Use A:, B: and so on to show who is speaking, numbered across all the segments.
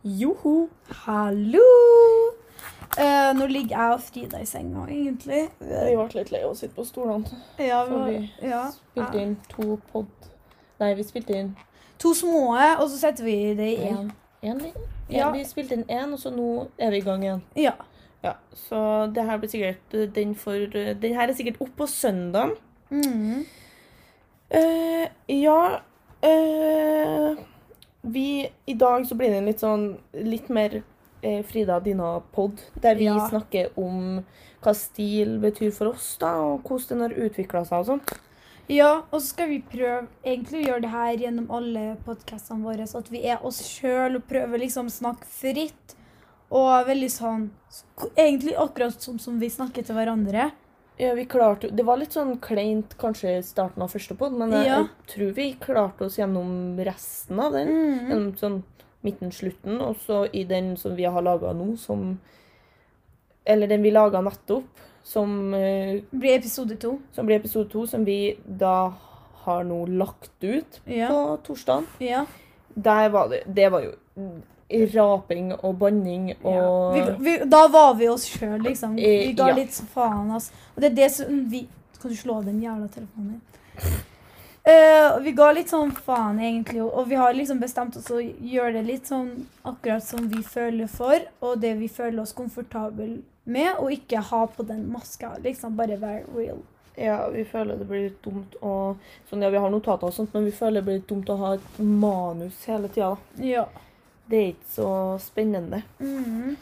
A: Joho!
B: Hallo! Eh, nå ligger jeg og Frida i senga, egentlig.
A: Vi ble litt lei av å sitte på stolene.
B: Ja, vi
A: for
B: var,
A: vi
B: ja.
A: Spilte inn to pod... Nei, vi spilte inn
B: To små, og så setter vi det i én.
A: én. En, liten?
B: Ja.
A: En, vi spilte inn én, og så nå er vi i gang igjen.
B: Ja.
A: Ja, Så det her blir sikkert eh, Den, for, den her er sikkert opp på søndagen.
B: Mm.
A: Eh, ja eh, Vi I dag så blir det en litt sånn litt mer eh, Frida Dina-pod, der vi
B: Ja.
A: snakker om hva stil betyr for oss, da, og hvordan den har utvikla seg og sånn.
B: ja, og så skal vi prøve egentlig å gjøre det her gjennom alle podkastene våre, så at vi er oss sjøl og prøver liksom å snakke fritt. Og veldig sånn Egentlig akkurat som, som vi snakker til hverandre.
A: Ja, vi klarte Det var litt sånn kleint kanskje i starten av første pod, men jeg,
B: Ja.
A: jeg tror vi klarte oss gjennom resten av den.
B: Mm.
A: Gjennom sånn midten-slutten, og så i den som vi har laga nå, som Eller den vi laga nettopp, som, eh,
B: Blir episode to.
A: som blir episode to, som vi da har nå lagt ut
B: Ja.
A: på torsdag.
B: ja.
A: Der var det Det var jo raping og banning og
B: Mm. vi, vi, da var vi oss sjøl, liksom. Vi
A: Eh,
B: ga
A: ja.
B: litt faen, altså. Og det er det som vi Kan du slå av den jævla telefonen din? Eh, vi ga litt sånn faen, egentlig, og- og vi har liksom bestemt oss å gjøre det litt sånn akkurat som vi føler for, og det vi føler oss komfortable med, og ikke ha på den maska. Liksom bare være real.
A: Ja, vi føler det blir litt dumt å sånn, Ja, vi har notater og sånt, men vi føler det blir litt dumt å ha et manus hele tida. da.
B: Ja.
A: Det er ikke så spennende.
B: Mm.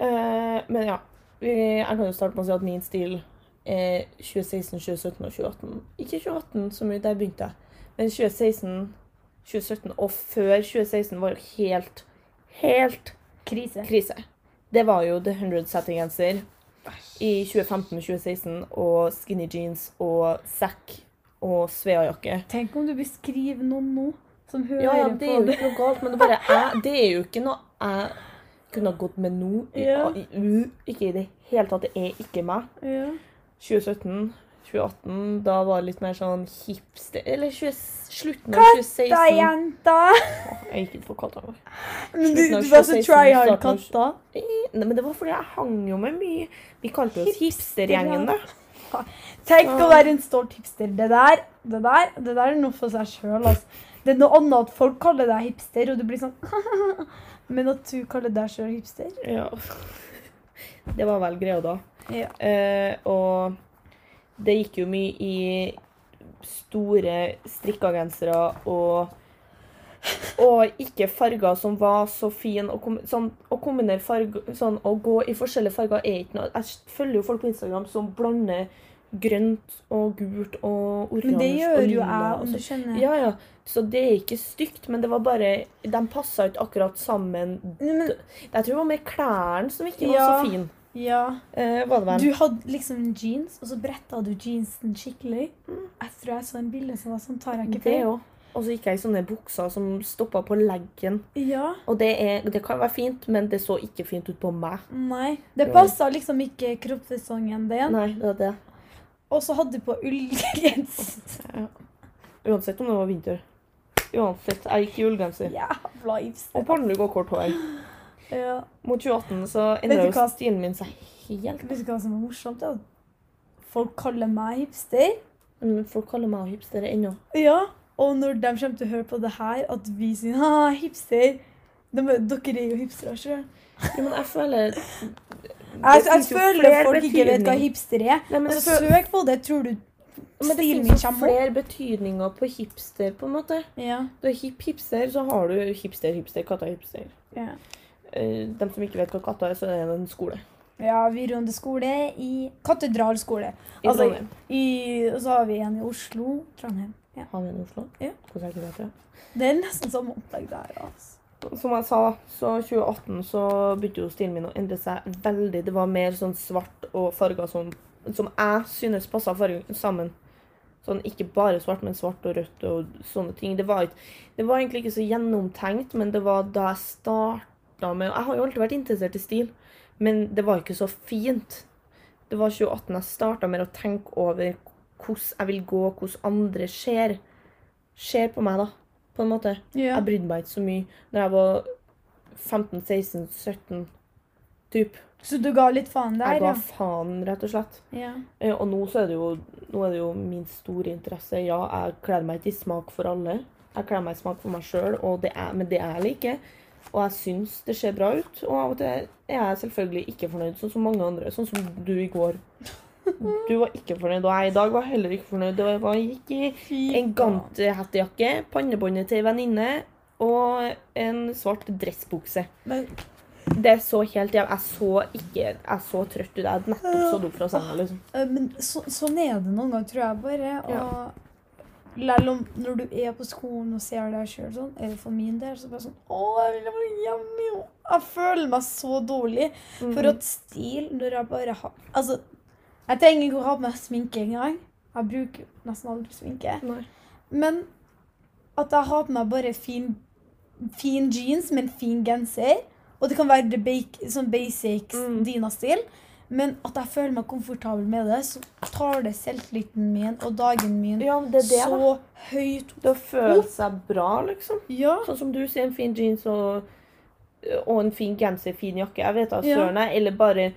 A: Eh, men ja. Vi, jeg kan jo starte med å si at min stil er 2016, 2017 og 2018. Ikke 2018 så mye, der begynte jeg. Men 2016, 2017 og før 2016 var jo helt, helt
B: Krise.
A: krise. Det var jo The 100 settinggenser i 2015-2016 og skinny jeans og sekk og sveajakke.
B: Tenk om du beskriver noen nå som hører
A: Ja, ja, det er
B: på
A: jo ikke noe galt, men det, bare er, det er jo ikke noe jeg kunne ha gått med nå. I-
B: Ja.
A: i- u- Ikke i det hele tatt. Det er ikke meg.
B: Ja.
A: 2017, 2018, da var det litt mer sånn hipster Eller 20, slutten av
B: Da,
A: 2016.
B: jenta!
A: Jeg gikk ikke for katta vår.
B: Men
A: Slutten
B: du,
A: av
B: du var så
A: 2016,
B: try hard
A: starten av
B: katt da.
A: Nei, men det var fordi jeg hang jo med mye Vi kalte oss hipstergjengen, da.
B: Tenk
A: Ja.
B: å være en stolt hipster. Det der, det der, det der er noe for seg sjøl. Altså. Det er noe annet at folk kaller deg hipster, og du blir sånn Men at du kaller deg sjøl hipster
A: Ja. Det var vel greia da.
B: Ja.
A: Eh, og det gikk jo mye i store strikka gensere og og ikke farger som var så fine. Å kom, sånn, å kombinere farger sånn, Å gå i forskjellige farger er ikke noe Jeg følger jo folk på Instagram som blander grønt og gult og oransje
B: Men det
A: og
B: gjør jo
A: lilla
B: jeg, altså.
A: og
B: om
A: så-
B: du skjønner.
A: Ja, ja. Så det er ikke stygt, men det var bare De passa ikke akkurat sammen.
B: Men,
A: Jeg tror det var mer klærne som ikke var
B: Ja.
A: så fine.
B: ja.
A: Eh, var det vel?
B: Du hadde liksom jeans, og så bretta du jeansen skikkelig. Jeg tror jeg så en bilde som var sånn. Tar jeg ikke
A: Mm. det
B: feil?
A: òg. Og så gikk jeg i sånne bukser som stoppa på leggen.
B: Ja.
A: Og det, er, det kan være fint, men det så ikke fint ut på meg.
B: Nei. Det
A: Jo.
B: passa liksom ikke kroppsfasongen din.
A: Nei, det var det.
B: Og så hadde du på ullgenser.
A: Uansett om det var vinter. Uansett. Jeg gikk i ullgenser.
B: Jævla
A: Og
B: hipster.
A: pannelugg og kort hår.
B: Ja.
A: Mot 2018 så
B: Vet
A: endra jo
B: du hva?
A: stilen min seg helt.
B: Vet du hva som er morsomt? Det er at folk kaller meg hipster.
A: Men folk kaller meg hipster ennå.
B: Ja, Og når de kommer til å høre på det her, at vi sier ha, hipster de, Dere er jo hipstere sjøl.
A: Ja, men jeg føler
B: Jeg,
A: Det
B: jeg
A: finnes jo
B: føler
A: flere
B: folk ikke altså- vet hva
A: betydning.
B: hipster er.
A: Nei, men
B: Og
A: det, fø-
B: søk på det, tror du
A: men det
B: stilen min
A: finnes jo
B: kommer opp.
A: flere betydninger på hipster, på en måte.
B: Ja,
A: Du er hip hipster, så har du hipster, hipster, katta hipster.
B: ja.
A: Eh, dem som ikke vet hva katta er, så er det en skole.
B: ja videregående skole i Katedralskole.
A: I
B: Altså,
A: Trondheim.
B: I, og så har vi en i Oslo. Trondheim. Ja.
A: Har vi en i Oslo?
B: Ja.
A: Hvordan er det ikke det?
B: Det er nesten som opplegg der. altså.
A: Som jeg sa, da, så 2018 så begynte jo stilen min å endre seg veldig. Det var mer sånn svart og farger som, som jeg synes passa farger sammen. Sånn, ikke bare svart, men svart og rødt og sånne ting. Det var, ikke, det var egentlig ikke så gjennomtenkt, men det var da jeg starta med Jeg har jo alltid vært interessert i stil, men det var ikke så fint. Det var 2018 jeg starta med å tenke over hvordan jeg vil gå, hvordan andre ser, ser på meg, da. På en måte.
B: Ja.
A: Jeg brydde meg ikke så mye når jeg var 15, 16, 17 typ.
B: Så du ga litt faen der,
A: Jeg ga
B: ja?
A: faen, rett og slett.
B: ja.
A: Eh, Og nå, så er det jo, nå er det jo min store interesse. Ja, jeg kler meg ikke i smak for alle. Jeg kler meg i smak for meg sjøl, men det jeg liker. Og jeg syns det ser bra ut. Og av og til er jeg selvfølgelig ikke fornøyd, sånn som mange andre. Sånn som du i går. Du var ikke fornøyd, og jeg i dag var heller ikke fornøyd. Og jeg var- gikk i en ganthettejakke, pannebåndet til ei venninne og en svart dressbukse.
B: Men
A: Det så helt jævlig Jeg så ikke Jeg så trøtt ut. Jeg hadde nettopp stått opp fra senga, liksom.
B: Eh, Men så, sånn er det noen ganger, tror jeg bare. Og
A: Ja.
B: Lell om når du er på skolen og ser deg sjøl sånn, er det for min del så bare sånn Å, jeg vil være hjemme, jo. Jeg føler meg så dårlig.
A: Mm. Mhm.
B: For at stil når jeg bare har Altså, jeg trenger ikke å ha på meg sminke engang. Jeg bruker jo nesten aldri sminke.
A: Nei.
B: Men at jeg har på meg bare fin, fin jeans med en fin genser, og det kan være the bake, sånn basics
A: Mm.
B: Dina-stil, men at jeg føler meg komfortabel med det, så tar det selvtilliten min og dagen min
A: Ja, men det er det, da.
B: så høyt
A: Det å føle seg bra, liksom.
B: Ja.
A: Sånn som du sier, en fin jeans og, og en fin genser, fin jakke. Jeg vet da
B: Ja.
A: søren, jeg. Eller bare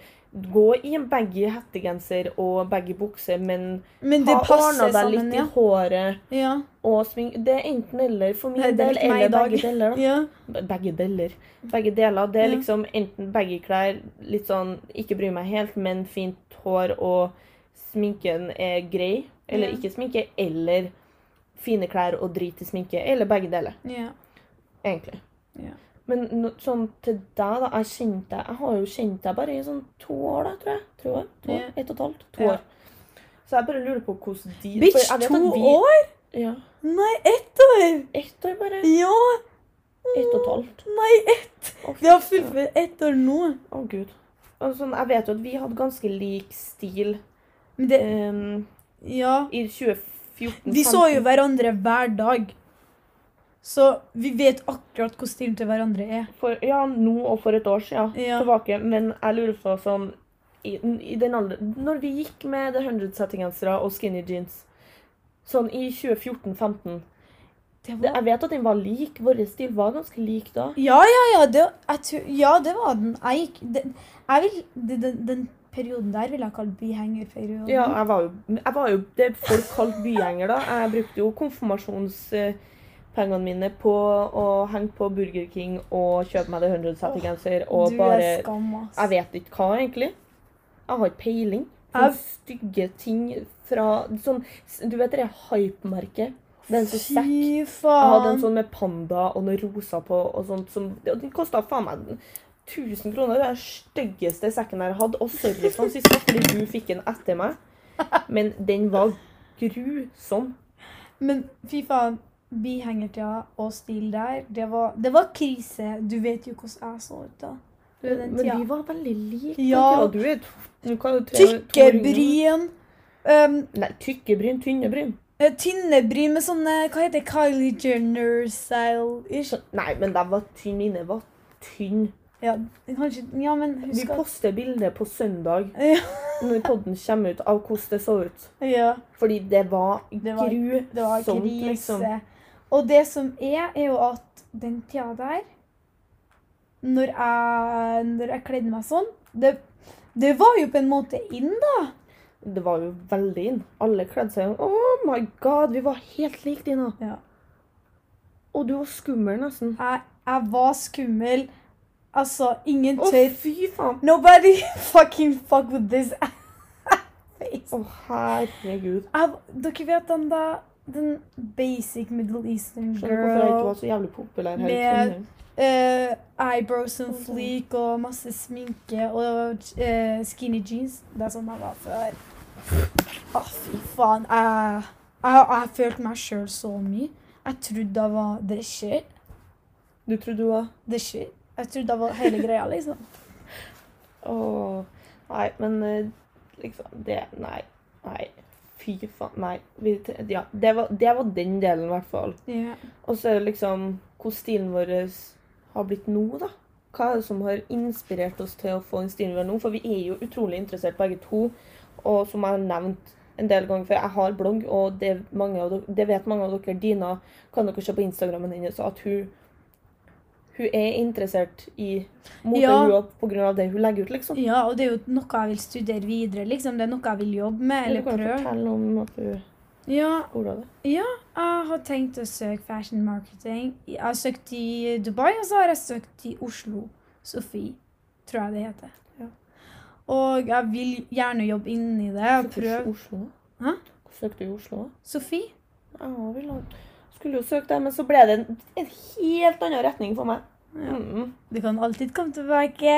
A: gå i en baggy hettegenser og baggy bukse, men
B: Men det
A: ha ordna
B: passer
A: deg
B: sammen,
A: litt
B: ja.
A: i håret
B: ja.
A: og sving Det er enten eller for min
B: Nei, det er
A: del,
B: ikke meg i
A: eller
B: dag.
A: begge deler. da.
B: ja.
A: Begge deler. Begge deler. Det er
B: Ja.
A: liksom enten begge klær, litt sånn ikke bry meg helt, men fint hår og sminken er grei, eller
B: Ja.
A: ikke sminke, eller fine klær og drit i sminke, eller begge deler,
B: ja.
A: egentlig.
B: Ja.
A: Men no, sånn til deg, da. Jeg kjente deg Jeg har jo kjent deg bare i sånn to år, da, tror jeg. Tror jeg. To år.
B: Ja.
A: Ett og et halvt. To
B: Ja.
A: år. Så jeg bare lurer på hvordan de for
B: Bitch,
A: jeg vet
B: to
A: at vi-
B: år?
A: Ja.
B: Nei, ett år!
A: Ett år, bare.
B: Ja!
A: Ett og et halvt.
B: Nei, ett!
A: Å,
B: Vi har
A: fy søren.
B: fullført ett år nå.
A: Å, gud. Og sånn, jeg vet jo at vi hadde ganske lik stil
B: Men det
A: em,
B: Ja.
A: i 2014
B: Vi så jo hverandre hver dag. Så vi vet akkurat hvor stilen til hverandre er.
A: for, Ja, nå og for et år siden.
B: Ja.
A: Tilbake. Men jeg lurer på sånn i, i den alder, Når vi gikk med The 100 settingensere og skinny jeans Sånn i 2014-15
B: Det
A: Jeg vet at den var lik. Vår stil var ganske lik da.
B: Ja, ja, ja. Det, jeg tror, ja, det var den. Jeg gikk den, jeg vil, den, den, den perioden der vil jeg kalle bihengerperioden.
A: Ja, jeg var jo, jeg var jo det folk kalte bygjenger, da. Jeg brukte jo konfirmasjonspengene mine på å henge på Burger King og kjøpe meg The 100 Setty-genser og
B: du
A: bare
B: er skam, ass.
A: Jeg vet ikke hva, egentlig. Jeg har ikke peiling.
B: Jeg-
A: Sånne stygge ting fra sånn, Du vet det hype-merket? Den som sekk.
B: Fy
A: Jeg hadde en
B: faen.
A: sånn med panda og noen roser på og sånt som Og den kosta faen meg 1000 kroner. Det er den styggeste sekken jeg har hatt. Og sorry for den siste, fordi du fikk den etter meg. Men den var grusom.
B: Men fy faen. Bihengertida og stil der, det var, det var krise. Du vet jo hvordan jeg så ut da. Du vet den
A: Men
B: tida.
A: vi var veldig like.
B: Ja.
A: Du er to- du kan jo tre- to
B: Tykke
A: år yngre.
B: bryn. Um,
A: Nei, tykke bryn, tynne bryn.
B: Eh, Tynne bryn med sånne Hva heter det? Kylie Jenner-style-ish?
A: Så- Nei, men de var tynne inne. Var tynn.
B: Ja, kanskje Ja, men
A: Vi
B: husk at
A: poster bilde på søndag
B: ja,
A: når podden kommer ut, av hvordan det så ut.
B: ja,
A: Fordi det var
B: Det var-
A: grusomt,
B: det var krise.
A: liksom.
B: Og det som er, er jo at den tida der Når jeg, når jeg kledde meg sånn det, det var jo på en måte inn, da.
A: Det var jo veldig inn. Alle kledde seg sånn. Oh my god, vi var helt like, Dina.
B: Ja.
A: Og du var skummel, nesten.
B: Jeg, jeg var skummel. Altså, ingen
A: Å,
B: tør
A: fy faen.
B: Nobody fucking fuck with this face.
A: Å, herregud.
B: Jeg, dere vet den da Den basic Middle Eastern
A: Skjønner du hvorfor jeg ikke
B: girl.
A: var så jævlig populær her i
B: Med-
A: Trondheim.
B: eh, eyebrows
A: Sånn,
B: and fleek og masse sminke og eh, skinny jeans. Det er sånn jeg var før. Å, fy faen. Jeg, jeg, jeg følte meg sjøl så mye. Jeg trodde jeg var the shit.
A: Du trodde du var
B: The shit. Jeg trodde jeg var hele greia, liksom.
A: Åh. Nei, men eh, liksom Det Nei. Nei. Fy faen. Nei. Vi, tre- ja, det, var, det var den delen, i hvert fall.
B: Ja.
A: Og så er det liksom hvor stilen vår har blitt nå, da. Hva er det som har inspirert oss til å få den stilen vi har nå? For vi er jo utrolig interessert begge to. Og som jeg har nevnt en del ganger før, jeg har blogg, og det, er mange av dere, det vet mange av dere. Dina kan dere se på Instagrammen hennes at hun hun er interessert i motehua
B: Ja.
A: på grunn av det hun legger ut, liksom.
B: Ja, og det er jo noe jeg vil studere videre, liksom. Det er noe jeg vil jobbe med eller
A: du kan jo
B: prøve.
A: fortelle om at du
B: Ja,
A: gjorde det.
B: jeg har tenkt å søke fashion marketing. Jeg har søkt i Dubai, og så har jeg søkt i Oslo. Sofie, tror jeg det heter.
A: Ja.
B: Og jeg vil gjerne jobbe inni det og
A: Søkte du ikke
B: prøve.
A: Oslo?
B: Hæ?
A: Hvorfor søkte du i Oslo? da?
B: Sofie?
A: Ja, jeg ville ha- skulle jo søke det, men så ble det en, en helt annen retning for meg.
B: Ja.
A: Mm.
B: Du kan alltid komme tilbake.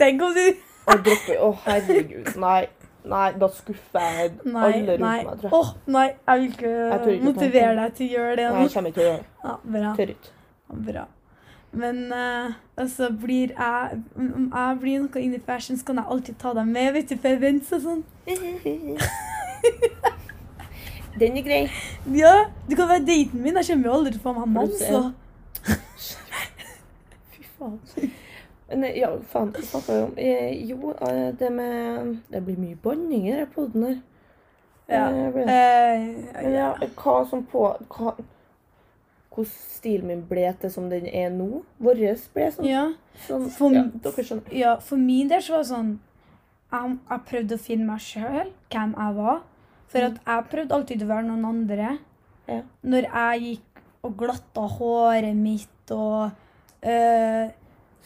B: Tenk om du
A: Og droppe Å, herregud. Nei. Nei, da skuffer jeg
B: Nei,
A: alle rundt
B: nei.
A: meg,
B: Åh,
A: tror jeg.
B: nei, jeg vil ikke,
A: Jeg tør ikke
B: motivere
A: tenke.
B: deg til å gjøre det
A: Nei,
B: nå.
A: jeg kommer ikke til å gjøre det.
B: Ja, bra.
A: Tør ikke.
B: Bra. Men eh, altså, blir jeg Om om jeg blir noe inni fashion, så kan jeg alltid ta deg med, vet du, på events og sånn.
A: Den er grei.
B: Ja, du kan være daten min. Jeg kommer jo aldri til å få meg mann,
A: Pluss
B: så
A: en. Fy faen. Men, eh, ja, faen, hva snakka vi om? Eh, jo, eh, det med Det blir mye banning i den poden her.
B: Ja.
A: Eh, det blir det.
B: eh,
A: Men
B: ja.
A: ja, hva som på hva, Hvordan stilen min ble til som den er nå? Vår ble sånn.
B: ja.
A: sånn
B: For-
A: ja, dere skjønner.
B: Ja, for min del så var det sånn Jeg, jeg prøvde å finne meg sjøl, hvem jeg var. For at jeg prøvde alltid å være noen andre.
A: Mm. Ja.
B: Når jeg gikk og glatta håret mitt og eh,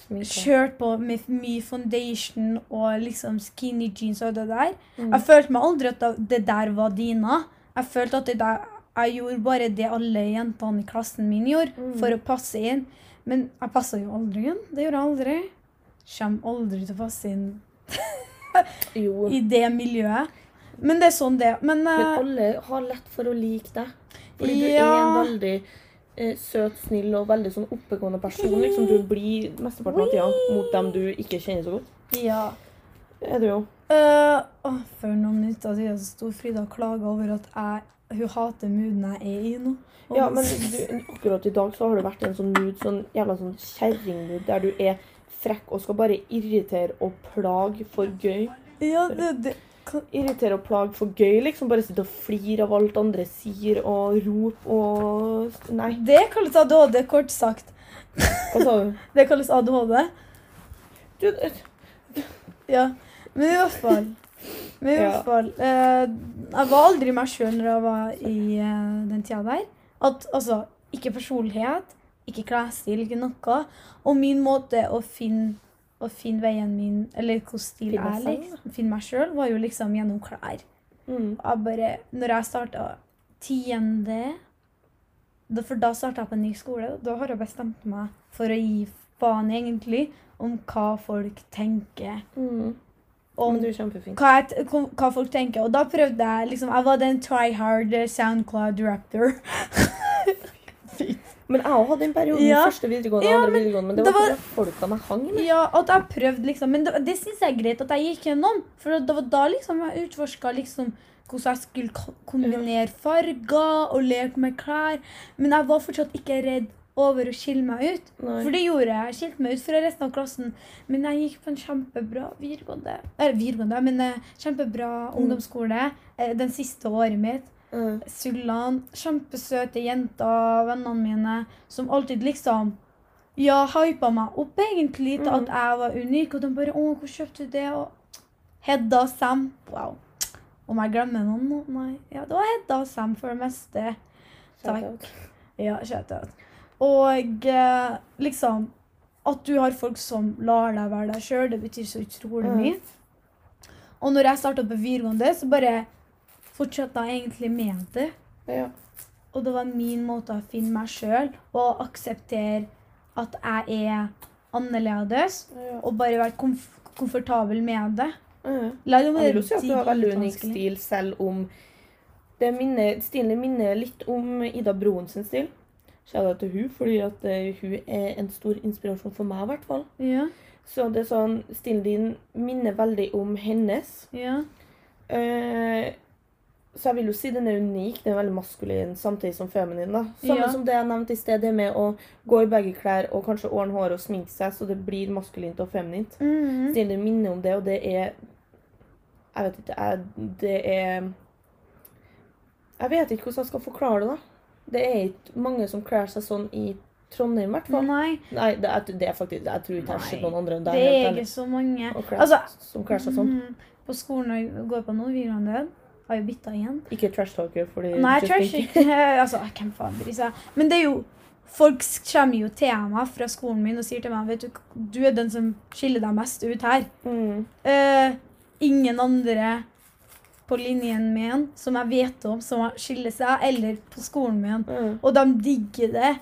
A: Sminka.
B: kjørte på med mye foundation og liksom skinny jeans og det der
A: Mm.
B: Jeg følte meg aldri at det der var dina. Jeg følte at det der, jeg gjorde bare det alle jentene i klassen min gjorde,
A: Mm.
B: for å passe inn. Men jeg passa jo aldri inn. Det gjorde jeg aldri. Kommer aldri til å passe inn
A: Jo.
B: i det miljøet. Men det er sånn det er. Men,
A: Men
B: eh,
A: alle har lett for å like deg. Fordi du er en
B: Ja.
A: veldig eh, søt, snill og veldig sånn oppegående person. Liksom. Du blir mesteparten av tida mot dem du ikke kjenner så godt.
B: ja.
A: Det er du jo.
B: Eh, åh, for noen minutter siden så sto Frida og klaga over at jeg, hun hater mooden jeg er i nå. Og-
A: Ja, men du, akkurat i dag så har du vært i en sånn mood, sånn jævla sånn kjerringmood, der du er frekk og skal bare irritere og plage for gøy.
B: Ja, det, det
A: Irritere og plage for gøy, liksom. Bare sitte og flire av alt andre sier, og rope og Nei,
B: Det kalles ADHD, kort sagt.
A: hva sa du?
B: Det kalles ADHD.
A: Du, eh,
B: Ja. Men i hvert fall Men i
A: Ja.
B: hvert fall eh, Jeg var aldri meg sjøl når jeg var i eh, den tida der. At altså Ikke personlighet, ikke klesstil, ikke noe. Og min måte å finne å finne veien min, eller hvordan stil
A: Finne
B: jeg
A: seg,
B: liksom, finne meg sjøl, var jo liksom gjennom klær.
A: mm.
B: Jeg bare, når jeg starta tiende da, For da starta jeg på en ny skole. og Da har jeg bestemt meg for å gi faen egentlig om hva folk tenker.
A: Mm.
B: Om
A: Men du er kjempefin.
B: hva, jeg, t- kom- hva folk tenker. Og da prøvde jeg liksom Jeg var den try hard soundcloud rapper.
A: Men jeg òg hadde en periode i
B: Ja.
A: første videregående
B: Ja,
A: og andre
B: men
A: videregående, men det
B: det
A: var
B: var-
A: ikke folka jeg hang med.
B: Ja, at jeg prøvde liksom Men det, det syns jeg er greit at jeg gikk gjennom. For det var da liksom jeg utforska liksom hvordan jeg skulle ko- kombinere farger og leke med klær. Men jeg var fortsatt ikke redd over å skille meg ut.
A: Nei.
B: For det gjorde jeg. Jeg skilte meg ut fra resten av klassen. Men jeg gikk på en kjempebra videregående Eller videregående, men eh, kjempebra ungdomsskole eh, den siste året mitt.
A: Mm.
B: Sullan. Kjempesøte jenter, vennene mine, som alltid liksom Ja, hypa meg opp egentlig til
A: Mhm.
B: at jeg var unik, og de bare 'Å, hvor kjøpte du det?' Og Hedda og Sam. Wow. Om jeg glemmer noen nå? Nei. Ja, det var Hedda og Sam for det meste. Takk. Ja, shoutout. Og eh, liksom At du har folk som lar deg være deg sjøl, det betyr så utrolig
A: Mm.
B: mye. Og når jeg starta på videregående, så bare fortsatte jeg egentlig med det.
A: Ja.
B: Og det var min måte å finne meg sjøl og akseptere at jeg er annerledes,
A: Ja.
B: og bare være komf komfortabel med det.
A: Ja.
B: La det
A: Jeg vil
B: være
A: jo si at du har veldig unik stil,
B: dritvanskelig.
A: selv om det minner, stilen din minner litt om Ida Broen sin stil. Kjære til hun, fordi at eh, hun er en stor inspirasjon for meg, i hvert fall.
B: Ja,
A: Så det er sånn, stilen din minner veldig om hennes.
B: ja,
A: Eh, så jeg vil jo si den er unik. Den er veldig maskulin samtidig som feminin. da. Samme
B: Ja.
A: som det jeg nevnte i sted, det med å gå i begge klær og kanskje ordne håret og sminke seg, så det blir maskulint og feminint.
B: Mhm.
A: Stilen din minner om det, og det er Jeg vet ikke. Jeg, det er Jeg vet ikke hvordan jeg skal forklare det, da. Det er ikke mange som kler seg sånn i Trondheim, i hvert fall.
B: Nei,
A: Nei, det er, det er faktisk Jeg tror ikke jeg har sett
B: Nei,
A: noen andre enn deg.
B: det
A: helt
B: er
A: ærlig.
B: ikke så mange.
A: Og crash,
B: Altså,
A: som crasha sånn.
B: mm, på skolen jeg går på nå, videregående, død, har jo bytta igjen.
A: Ikke trash talker, fordi
B: Nei,
A: just
B: trash
A: think-
B: ikke. altså, hvem faen bryr seg? Men det er jo Folk kommer jo til meg fra skolen min og sier til meg Vet du, du er den som skiller deg mest ut her.
A: Mm.
B: Eh, ingen andre på linjen min som jeg vet om, som skiller seg, eller på skolen min.
A: Mm.
B: Og de digger det.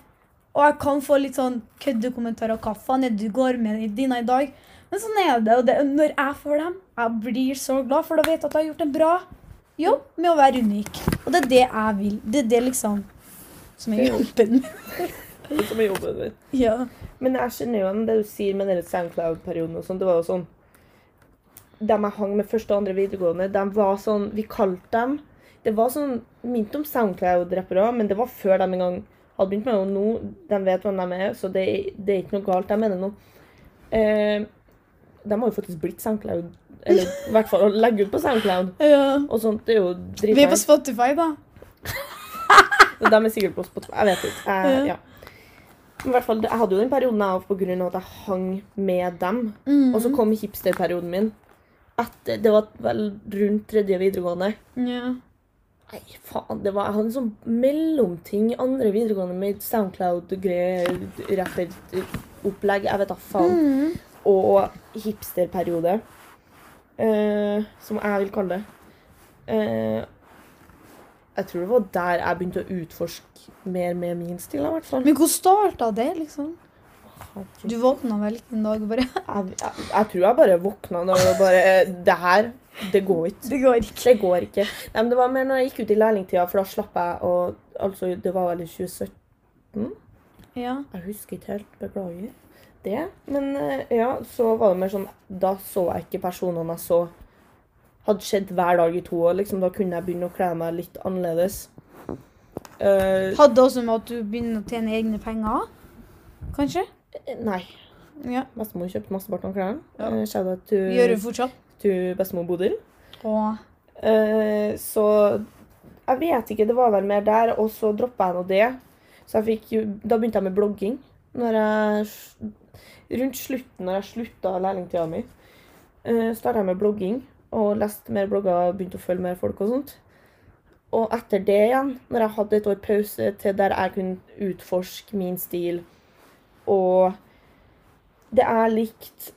B: Og jeg kan få litt sånn køddekommentarer. 'Hva faen er det du går med i dine i dag?' Men sånn er det. Og det, når jeg får dem, jeg blir så glad, for da vet jeg at jeg har gjort en bra jobb med å være unik. Og det er det jeg vil. Det er det liksom som er jobben min.
A: Det er så mye jobben min.
B: Ja.
A: Men jeg skjønner jo igjen det du sier med den SoundCloud-perioden og sånn. Det var jo sånn De jeg hang med første og andre videregående, de var sånn Vi kalte dem Det var sånn Mint om SoundCloud-rappere, men det var før de engang hadde begynt med det. Og nå de vet hvem de er, så det, det er ikke noe galt. Jeg mener noe. Eh, de har jo faktisk blitt SoundCloud. Eller i hvert fall å legge ut på SoundCloud.
B: ja.
A: Og sånt, det er jo
B: Vi er på
A: dritfeil.
B: Spotify, da.
A: Og de er sikkert på Spotify. Jeg vet ikke. Jeg,
B: Ja.
A: ja. Men i hvert fall, jeg hadde jo den perioden jeg var på grunn av at jeg hang med dem.
B: Mm.
A: Og så kom hipsterperioden min. Etter, det var vel rundt tredje videregående.
B: ja.
A: Nei, faen. Det var, jeg hadde en sånn mellomting i andre videregående med Soundcloud-greier, rapper-opplegg, jeg vet da faen.
B: Mm.
A: Og hipsterperiode, eh, som jeg vil kalle det. Eh, jeg tror det var der jeg begynte å utforske mer med min stil, i hvert fall.
B: Men hvor starta det, liksom? Du våkna vel ikke en dag og bare
A: Jeg, jeg, jeg tror jeg bare våkna da og bare eh, Det her, det går ikke.
B: Det går ikke.
A: Det går ikke. Nei, men det var mer når jeg gikk ut i lærlingtida, for da slapp jeg å Altså, det var vel i 2017?
B: Ja.
A: Jeg husker ikke helt. Beklager det. Men eh, ja, så var det mer sånn Da så jeg ikke personene jeg så hadde skjedd hver dag i to år. Liksom, da kunne jeg begynne å kle meg litt annerledes. Eh,
B: Hadde også med at du begynner å tjene egne penger? Kanskje?
A: nei.
B: Ja.
A: Bestemor kjøpte masse bart om klærne.
B: Ja.
A: Eh, Shout out
B: Gjør du
A: to,
B: fortsatt?
A: to bestemor Bodil.
B: Og
A: Eh, så jeg vet ikke, det var vel mer der, og så droppa jeg nå det. Så jeg fikk, jo- da begynte jeg med blogging. Når jeg, s- rundt slutten, når jeg slutta lærlingtida mi, uh, starta jeg med blogging. Og leste mer blogger og begynte å følge mer folk og sånt. Og etter det igjen, når jeg hadde et år pause til der jeg kunne utforske min stil og det jeg likte,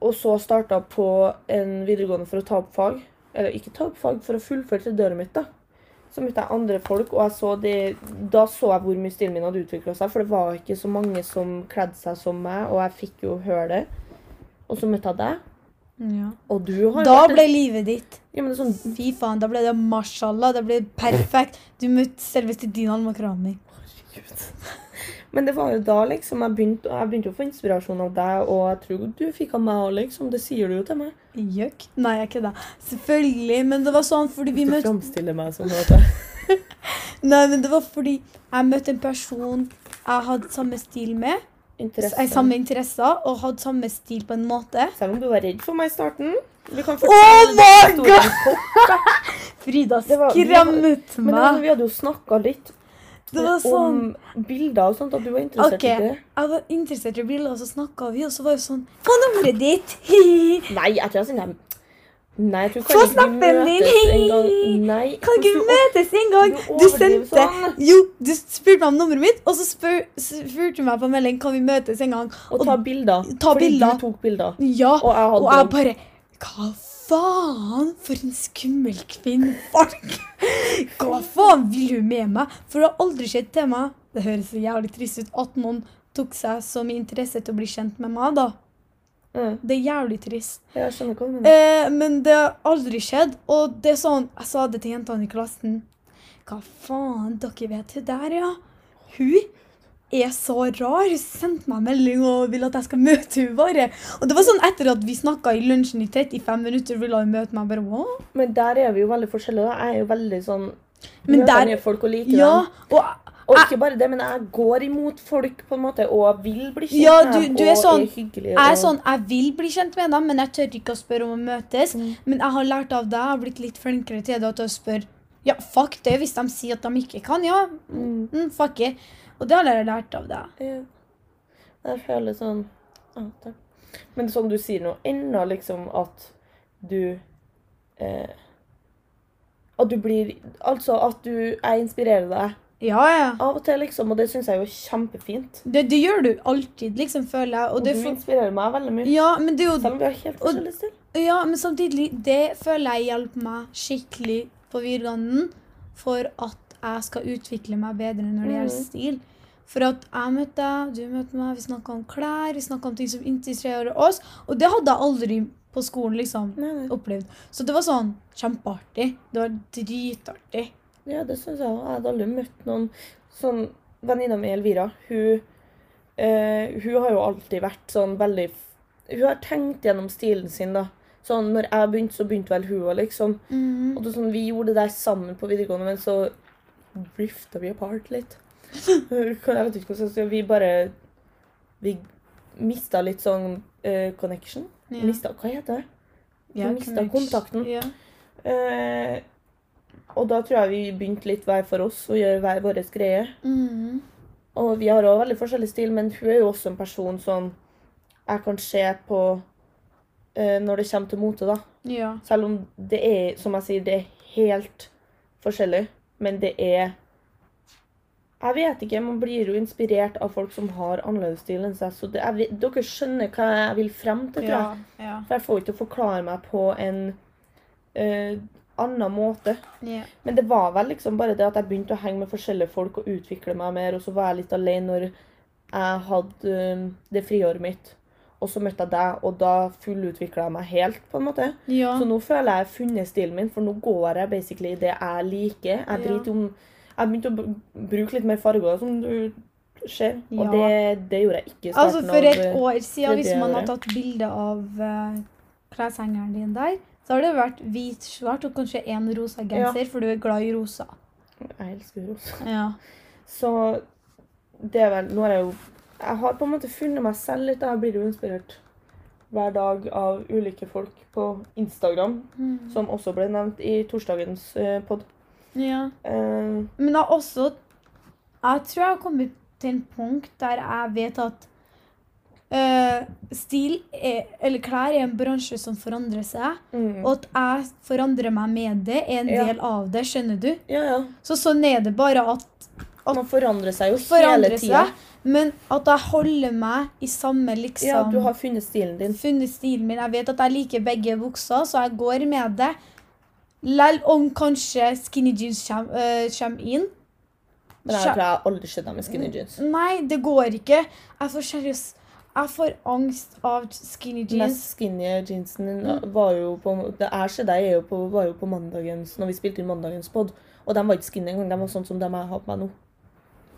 A: og så starta på en videregående for å ta opp fag eller ikke ta opp fag for å fullføre til døra mitt, da. Så møtte jeg andre folk, og jeg så det, da så jeg hvor mye stilen min hadde utvikla seg. For det var ikke så mange som kledde seg som meg, og jeg fikk jo høre det. Og så møtte jeg deg,
B: ja.
A: og du har
B: Da
A: vært en-
B: ble livet ditt
A: ja, men det er sånn,
B: Fy faen, da ble det mashallah. Det ble perfekt. Du møtte selveste Dinan Makrami.
A: Men det var jo da liksom jeg begynte, jeg begynte å få inspirasjon av deg, og jeg tror du fikk av meg òg, liksom. Det sier du jo til meg.
B: Jøk? Nei, jeg kødda. Selvfølgelig. Men det var sånn fordi vi
A: Du
B: møtte
A: framstiller meg som at jeg
B: Nei, men det var fordi jeg møtte en person jeg hadde samme stil med.
A: Interesse.
B: eh, Samme interesser og hadde samme stil på en måte.
A: Selv om du var redd for meg i starten. Vi kan
B: Oh my
A: den
B: God!
A: historien kort.
B: Frida
A: Det var- vi var-
B: skremmet
A: Men altså,
B: meg.
A: vi hadde jo snakka litt
B: Det var sånn
A: om bilder og sånt, at du var interessert
B: Ok.
A: i det.
B: Jeg var interessert i briller, og så snakka vi, og så var det sånn Hva er nummeret ditt? Hihi.
A: Nei, jeg tror jeg sender dem. Nei, jeg tror
B: Få
A: kanskje
B: snappen
A: vi møtes
B: din!
A: en gang. Nei,
B: Kan ikke vi
A: hvordan-
B: møtes en gang?
A: Du
B: Du
A: overdriver
B: sendte
A: sånn.
B: Jo, du spurte meg om nummeret mitt, og så spør, spurte du meg på melding kan vi møtes en gang.
A: Og ta bilder.
B: Ta
A: fordi
B: bilder.
A: du tok bilder.
B: Ja.
A: Og jeg hadde
B: Og jeg
A: også.
B: bare Hva faen for en skummel kvinne, folk! Hva faen vil hun med meg? For det har aldri skjedd til meg. Det høres så jævlig trist ut at noen tok seg som interesse til å bli kjent med meg, da.
A: Ja,
B: Det er jævlig trist.
A: Mm, Jeg skjønner hva du mener.
B: Eh, men det har aldri skjedd. Og det er sånn, jeg sa det til jentene i klassen. Hva faen, dere vet hun der, ja? Hun er så rar. Hun sendte meg en melding og vil at jeg skal møte hun bare. Og det var sånn etter at vi snakka i lunsjen i 35 minutter, ville hun møte meg. Jeg bare, Hva?
A: Men der er vi jo veldig forskjellige. Da. Jeg er jo veldig sånn
B: Men
A: Møter
B: der-
A: nye folk og liker
B: Ja,
A: dem.
B: og
A: Og ikke bare det, men jeg går imot folk på en måte, og vil bli kjent
B: Ja,
A: med
B: du-
A: dem,
B: du er
A: og
B: sånn-
A: er hyggelig.
B: jeg er
A: og-
B: sånn, jeg vil bli kjent med dem, men jeg tør ikke å spørre om å møtes.
A: Mm.
B: Men jeg har lært av deg, jeg har blitt litt flinkere til det til å spørre. Ja, fuck det, hvis de sier at de ikke kan, ja.
A: Mm.
B: Mm, fuck it. Og det har jeg lært av deg.
A: Ja. Jeg føler sånn ja, takk. Men som du sier nå, ennå liksom at du eh, At du blir Altså at du Jeg inspirerer deg
B: Ja, ja.
A: av og til, liksom, og det syns jeg jo er kjempefint.
B: Det, det gjør du alltid, liksom, føler jeg. Og
A: Og du
B: det får,
A: inspirerer meg veldig mye.
B: ja, men det er
A: Selv
B: jo
A: om vi har helt
B: og-
A: forskjellig stil.
B: Ja, men samtidig, det føler jeg hjalp meg skikkelig på videregående for at jeg skal utvikle meg bedre når det gjelder
A: Mhm.
B: stil. For at jeg møtte deg, du møtte meg, vi snakka om klær, vi snakka om ting som interesserer oss. Og det hadde jeg aldri på skolen liksom
A: Nei, nei.
B: opplevd. Så det var sånn kjempeartig. Det var dritartig.
A: Ja, det syns jeg òg. Jeg hadde aldri møtt noen sånn Venninna mi Elvira, hun, eh, hun har jo alltid vært sånn veldig f- Hun har tenkt gjennom stilen sin, da. Sånn når jeg begynte, så begynte vel hun òg, liksom. Og det er sånn, vi gjorde det der sammen på videregående, men så drifta vi apart litt. Jeg vet ikke hva jeg skal si. Vi bare Vi mista litt sånn eh, connection.
B: Ja.
A: Mista Hva heter det?
B: Ja,
A: mistet
B: connection.
A: kontakten.
B: Ja.
A: Eh, og da tror jeg vi begynte litt hver for oss og gjøre hver vår greie.
B: Mhm.
A: Og vi har òg veldig forskjellig stil, men hun er jo også en person som jeg kan se på eh, når det kommer til mote, da.
B: ja.
A: Selv om det er, som jeg sier, det er helt forskjellig. Men det er Jeg vet ikke, man blir jo inspirert av folk som har annerledes stil enn seg. Så det, jeg, vet- dere skjønner hva jeg vil frem til, tror jeg.
B: Ja. Ja.
A: For jeg får ikke forklare meg på en eh, annen måte.
B: Ja.
A: Men det var vel liksom bare det at jeg begynte å henge med forskjellige folk og utvikle meg mer, og så var jeg litt alene når jeg hadde eh, det friåret mitt. Og så møtte jeg deg, og da fullutvikla jeg meg helt, på en måte.
B: ja.
A: Så nå føler jeg jeg har funnet stilen min, for nå går jeg basically i det jeg liker. Jeg driter om Jeg begynte å br- bruke litt mer farger, som du ser, og
B: Ja.
A: det, det gjorde jeg ikke i
B: Altså
A: starten.
B: For et
A: av, eh,
B: år siden, hvis
A: tredje
B: man har
A: året.
B: tatt bilde av uh, kleshengeren din der, så har det vært hvit, svart og kanskje én rosa genser, for du er glad i rosa.
A: Jeg elsker rosa.
B: Ja.
A: Så det er vel Nå har jeg jo Jeg har på en måte funnet meg selv litt. da. Jeg blir jo inspirert hver dag av ulike folk på Instagram,
B: Mm.
A: som også ble nevnt i torsdagens eh, pod.
B: ja.
A: Eh,
B: Men da også Jeg tror jeg har kommet til en punkt der jeg vet at eh, stil er, eller klær er en bransje som forandrer seg,
A: mm.
B: og at jeg forandrer meg med det, er en
A: Ja.
B: del av det. Skjønner du?
A: Ja, ja.
B: Så sånn er det bare at
A: Man forandrer seg jo
B: forandre
A: hele tida.
B: seg, men at jeg holder meg i samme liksom
A: Ja, du har funnet stilen din.
B: funnet stilen min. Jeg vet at jeg liker begge bukser, så jeg går med det. Lell om kanskje skinny jeans kommer inn.
A: Men jeg tror jeg har aldri sett deg med
B: Mm.
A: skinny jeans.
B: Nei, det går ikke. Jeg får seriøs Jeg får angst av skinny
A: Den
B: jeans.
A: mest skinny jeansen var jo på Det er så deg, er jo på, var jo på mandagens Når vi spilte inn mandagens pod. Og de var ikke skinny engang. De var sånn som de jeg har på meg nå.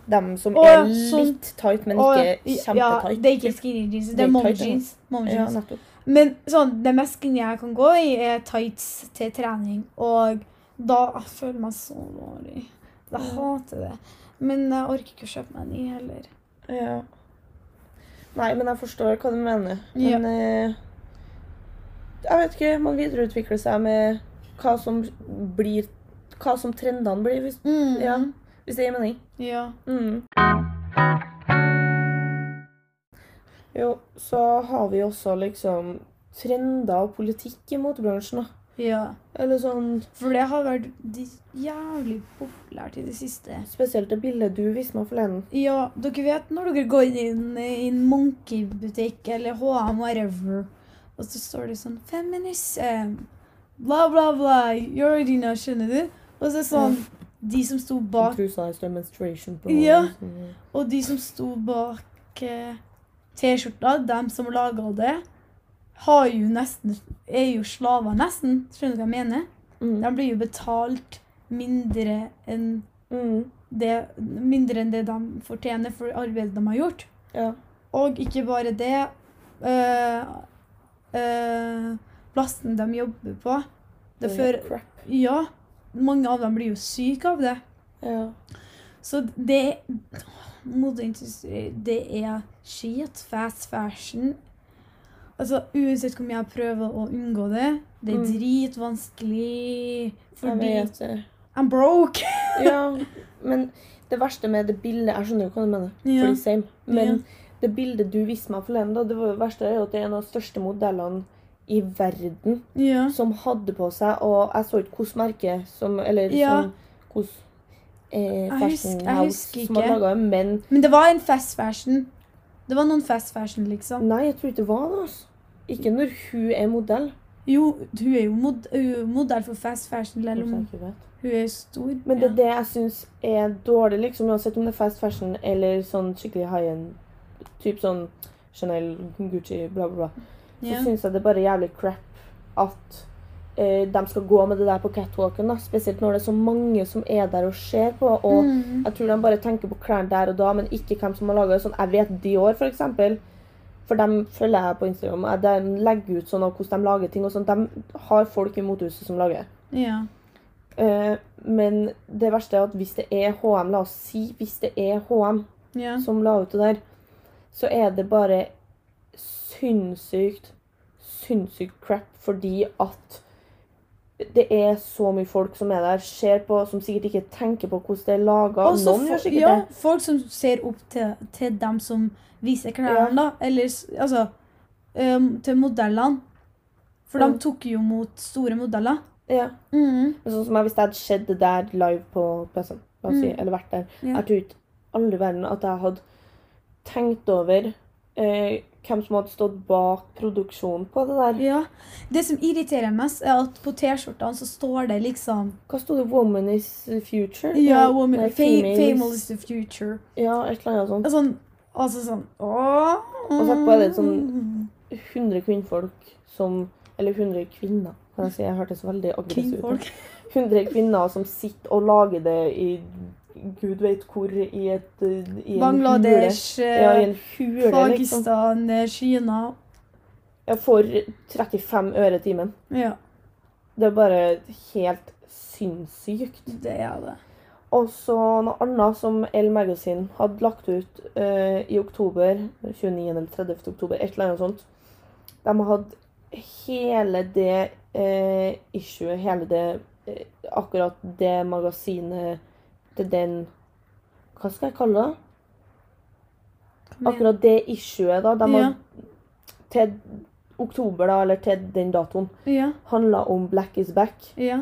A: De som
B: Å,
A: er
B: ja, sånn.
A: litt tight, men
B: Å,
A: ikke
B: ja,
A: kjempetight.
B: det er ikke skinny jeans, det
A: Det
B: er
A: er
B: mom
A: tight, ja.
B: jeans. Mom
A: Ja,
B: jeans.
A: nettopp.
B: Men sånn, det mest skinny jeg kan gå i, er tights til trening. Og da jeg føler meg så dårlig. Jeg hater det. Men jeg orker ikke å kjøpe meg en ny heller.
A: Ja. Nei, men jeg forstår hva du mener. Men
B: Ja.
A: eh, Jeg vet ikke. Man videreutvikler seg med hva som blir Hva som trendene blir, hvis, ja, hvis det gir mening.
B: ja.
A: Mm. Jo, så har vi også liksom trender og politikk i motebransjen, da.
B: Ja.
A: Eller sånn
B: For det har vært dis- jævlig populært i det siste.
A: spesielt det bildet du viste meg forleden.
B: Ja, dere vet når dere går inn i en Monkey-butikk eller HM, whatever, og så står det sånn Feminism, bla, bla, bla, you already know, skjønner du? Og så sånn De som sto bak
A: Trusa i større menstruation på
B: Ja.
A: sånn-
B: Og de som sto bak eh, T-skjorta, dem som laga det, har jo nesten, er jo slaver, nesten. Skjønner du hva jeg mener?
A: Mm.
B: De blir jo betalt mindre enn
A: Mm.
B: det, mindre enn det de fortjener for arbeidet de har gjort.
A: Ja.
B: Og ikke bare det øh, øh, Plassen de jobber på. Det
A: er
B: fører
A: crap.
B: Ja, mange av dem blir jo syke av det.
A: Ja.
B: Så det Moteindustri, det er skit. Fast fashion. Altså, Uansett hvor mye jeg prøver å unngå det, det er
A: Mm.
B: dritvanskelig.
A: Jeg
B: Fordi
A: vet det.
B: I'm broke!
A: Ja, men Det verste med det bildet Jeg skjønner jo hva du mener.
B: Ja.
A: Fordi same. Men det bildet du viste meg forleden, da, det var jo verste er jo at det er en av de største modellene i verden
B: Ja.
A: som hadde på seg Og jeg så ikke hvilket merke som Eller
B: Ja.
A: som hvilket eh,
B: Jeg
A: fashion
B: husker- jeg husker
A: house som hadde
B: ikke.
A: laga det, men
B: Men det var en fast fashion. Det var noen fast fashion, liksom.
A: Nei, jeg tror ikke det var det. altså. Ikke når hun er modell.
B: Jo, hun er jo mod hun er jo modell for fast fashion, eller
A: Kanskje jeg
B: om
A: ikke vet.
B: hun er stor.
A: Men det
B: ja.
A: er det jeg syns er dårlig, liksom, uansett om det er fast fashion eller sånn skikkelig high-end. Typ sånn Chanel, Gucci, bla, bla, bla. Så
B: ja.
A: syns jeg det er bare jævlig crap at eh, de skal gå med det der på catwalken, da. Spesielt når det er så mange som er der og ser på. Og
B: Mm.
A: jeg tror de bare tenker på klærne der og da, men ikke hvem som har laga det. Sånn, jeg vet Dior, for eksempel. For dem følger jeg på Instagram. og De legger ut sånn av hvordan de lager ting. og sånn. De har folk i mothuset som lager.
B: ja.
A: Eh, men det verste er at hvis det er HM, la oss si hvis det er HM
B: Ja.
A: som la ut det der, så er det bare sinnssykt, sinnssykt crap fordi at det er så mye folk som er der, ser på, som sikkert ikke tenker på hvordan det er laga.
B: Også
A: Noen gjør
B: fo-
A: sikkert
B: ja,
A: det.
B: folk som ser opp til, til dem som viser
A: Ja.
B: klærne, da. Eller s- altså øhm, Til modellene. For
A: Mm.
B: de tok jo mot store modeller. Mm.
A: Ja. Men Sånn som jeg, hvis det hadde skjedd det der live på PC-en, la oss si,
B: Mm.
A: eller vært der
B: Ja.
A: Jeg tror ikke alle i verden at jeg hadde tenkt over eh, hvem som hadde stått bak produksjonen på det der.
B: Ja. Det som irriterer mest, er at på T-skjortene så står det liksom
A: Hva sto det? 'Woman is future'?
B: Ja,
A: Nei,
B: woman,
A: nei,
B: fa
A: female is-
B: female is the future.
A: Ja, et eller annet sånt.
B: Sånn, altså sånn åh.
A: Og så er det sånn- 100 kvinnfolk som Eller 100 kvinner, kan jeg si. Jeg hørtes veldig aggressiv ut.
B: Kvinnfolk.
A: 100 kvinner som sitter og lager det i gud veit hvor i et eh, i en
B: Bangladesh, eh,
A: hule. Ja, i en hule, liksom.
B: Pakistan, eh, Kina
A: Jeg får 35 øre timen.
B: Ja,
A: Det er bare helt sinnssykt.
B: det er det.
A: Og så noe annet som Elle Magazine hadde lagt ut eh, i oktober, 29. eller 30. oktober, et eller annet sånt. De hadde hele det eh, issuet, hele det eh, Akkurat det magasinet til den Hva skal jeg kalle det?
B: Kom igjen.
A: Akkurat det issuet, da. De
B: Ja.
A: hadde, til oktober, da, eller til den datoen,
B: Ja,
A: handla om Black is back.
B: ja.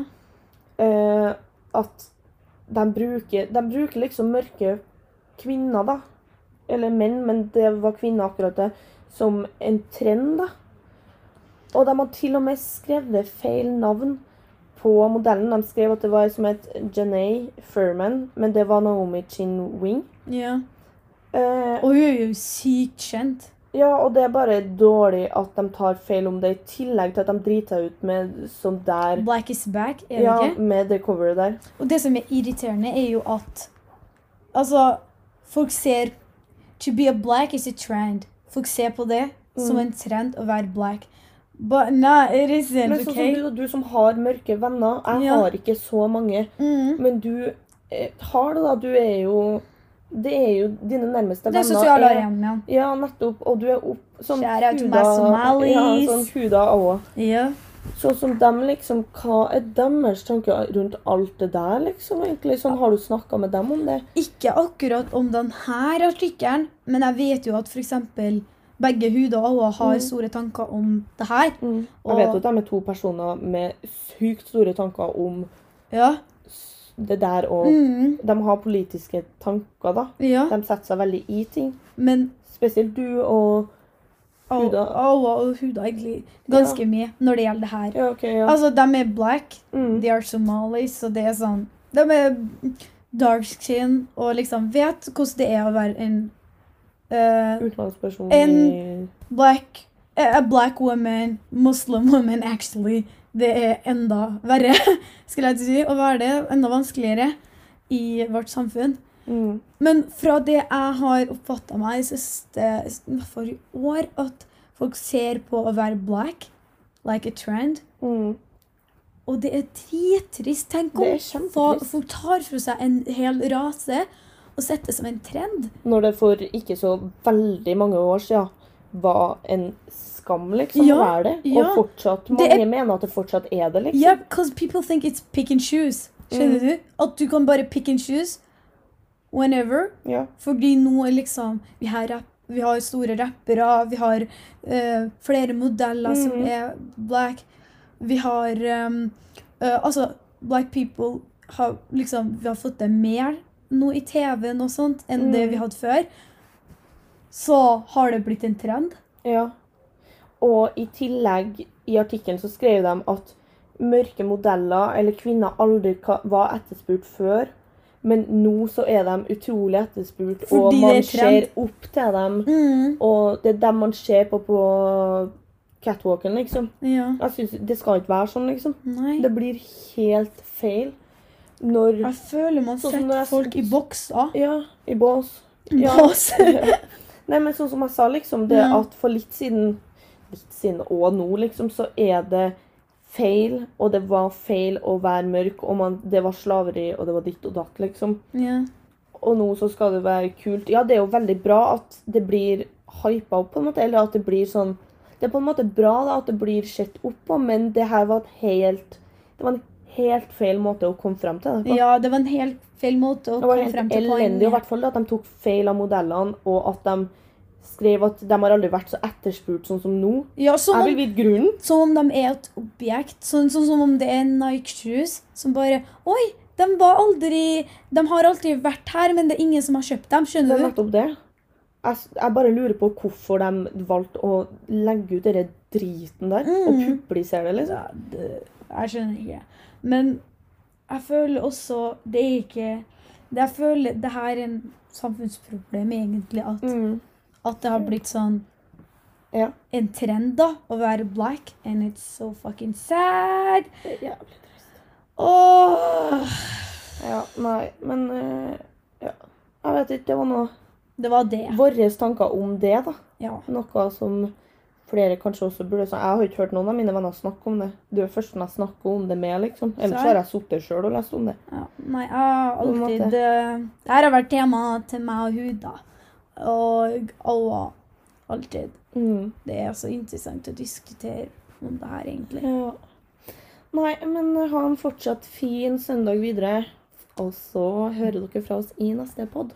A: eh, at de bruker, de bruker liksom mørke kvinner, da. Eller menn, men det var kvinner akkurat det. Som en trend, da. Og de har til og med skrevet feil navn på modellen. De skrev at det var ei som het Janae Furman, men det var Naomi Chin Wing.
B: ja.
A: Eh,
B: Og hun er jo sykt kjent.
A: ja, og det er bare dårlig at de tar feil om det, i tillegg til at de driter seg ut med sånn der
B: Black is back, er det
A: Ja,
B: ikke?
A: med det coveret der.
B: Og det som er irriterende, er jo at Altså, folk ser To be a black is a trend. Folk ser på det som
A: Mm.
B: en trend å være black. But no, it isn't,
A: Men sånn som
B: OK?
A: du, da, du som har mørke venner Jeg
B: Ja.
A: har ikke så mange,
B: Mm.
A: men du eh, har det, da. Du er jo Det er jo dine nærmeste
B: Det
A: venner.
B: er sosiale
A: er-
B: arenaen.
A: Ja, nettopp. Og du er opp sånn
B: Shout out to my
A: huda
B: Somalis.
A: Ja, sånn huda også.
B: Ja.
A: Sånn som dem, liksom. Hva er deres tanker rundt alt det der, liksom? egentlig? Sånn, Har du snakka med dem om det?
B: Ikke akkurat om denne artikkelen, men jeg vet jo at f.eks. begge Huda og Awa har
A: Mm.
B: store tanker om det her.
A: Jeg vet
B: Mm. Og-
A: jo at de er to personer med sykt store tanker om
B: Ja.
A: s- det der, og
B: Mm.
A: de har politiske tanker, da.
B: ja.
A: De setter seg veldig i ting.
B: Men
A: Spesielt du og
B: Au-
A: Huda.
B: Awa og Huda egentlig ganske mye når det gjelder det her.
A: Ja, ok, ja.
B: Altså, de er black,
A: mm.
B: de er somalis, så det er sånn De er dark skin og liksom vet hvordan det er å være en eh,
A: Utenlandsperson
B: En- black eh, A black woman, muslim woman, actually. Det er enda verre, skulle jeg til å si, å være det. Enda vanskeligere i vårt samfunn.
A: i mm.
B: Men fra det jeg har oppfatta meg i siste for i år, at folk ser på å være black like a trend.
A: Mm.
B: Og det er drittrist. Tenk
A: Det
B: om
A: er
B: fa-
A: kjempetrist.
B: folk tar fra seg en hel rase og setter det som en trend.
A: Når det for ikke så veldig mange år siden var en skam, liksom,
B: Ja,
A: å være det. Og
B: ja.
A: fortsatt,
B: Det
A: mange
B: er-
A: mener at det fortsatt er det, liksom. Mm.
B: Yeah, because people think it's pick and choose. Skjønner du? At du kan bare pick and choose whenever.
A: Ja.
B: Fordi nå er liksom Vi har, rapp, vi har store rappere, vi har eh, flere modeller som
A: Mhm.
B: er black. Vi har ehm, eh, Altså, black people har liksom Vi har fått det mer nå i TV-en og sånt enn det
A: Mhm.
B: vi hadde før. Så har det blitt en trend.
A: ja. Og i tillegg, i artikkelen så skrev de at mørke modeller eller kvinner aldri ka- var etterspurt før. Men nå så er de utrolig etterspurt, og
B: Fordi det
A: man
B: er
A: ser
B: trend.
A: opp til dem. Og det er dem man ser på på catwalken, liksom.
B: Ja.
A: Jeg synes Det skal ikke være sånn, liksom.
B: Nei.
A: Det blir helt feil når
B: Jeg føler man
A: Sånn som
B: setter
A: når jeg-
B: folk i bokser.
A: Ja, i bås. Ja.
B: Bås.
A: Nei, men sånn som jeg sa, liksom, det
B: Ja.
A: at for litt siden Litt siden og nå, liksom, så er det feil, og det var feil å være mørk, og man, det var slaveri, og det var ditt og datt, liksom.
B: ja.
A: Og nå så skal det være kult. Ja, det er jo veldig bra at det blir hypa opp, på en måte, eller at det blir sånn Det er på en måte bra da, at det blir sett opp på, men det her var et helt Det var en helt feil måte å komme frem til det på.
B: Ja, det var en helt feil måte å
A: Det var
B: komme frem
A: helt
B: til
A: elendig, og i
B: poenget.
A: hvert fall at de tok feil av modellene, og at de skrev at de har aldri vært så etterspurt sånn som nå.
B: Ja, som
A: Jeg
B: om,
A: vil vite grunnen.
B: som om de er et objekt. Sånn, sånn som om det er Nike-shoes som bare Oi, de var aldri De har aldri vært her, men det er ingen som har kjøpt
A: Det
B: dem.
A: er
B: Skjønner du?
A: nettopp det. Jeg, s- jeg bare lurer på hvorfor de valgte å legge ut den driten der, og
B: Mm.
A: publisere det, liksom.
B: Ja, det, jeg skjønner ikke. Men jeg føler også Det er ikke det Jeg føler det her er en samfunnsproblem, egentlig. At, at det har blitt sånn
A: Ja.
B: En trend, da, å være black. And it's so fucking sad.
A: Det er jævlig trist.
B: Åh.
A: Ja, nei, men eh, ja. Jeg vet ikke, det var noe
B: Det var det.
A: Våre tanker om det, da.
B: Ja.
A: Noe som flere kanskje også burde snakke Jeg har ikke hørt noen av mine venner snakke om det. Du er først når jeg snakker om det med, liksom. Ellers
B: Så-
A: har jeg sittet sjøl og lest om det.
B: ja. Nei, jeg har
A: På en
B: alltid
A: måte.
B: Det her har vært tema til meg og hun, da. Og alle. Alltid.
A: Mm.
B: Det er så interessant å diskutere om det her, egentlig.
A: Ja. Nei, men eh, ha en fortsatt fin søndag videre. Og så hører dere fra oss i neste pod.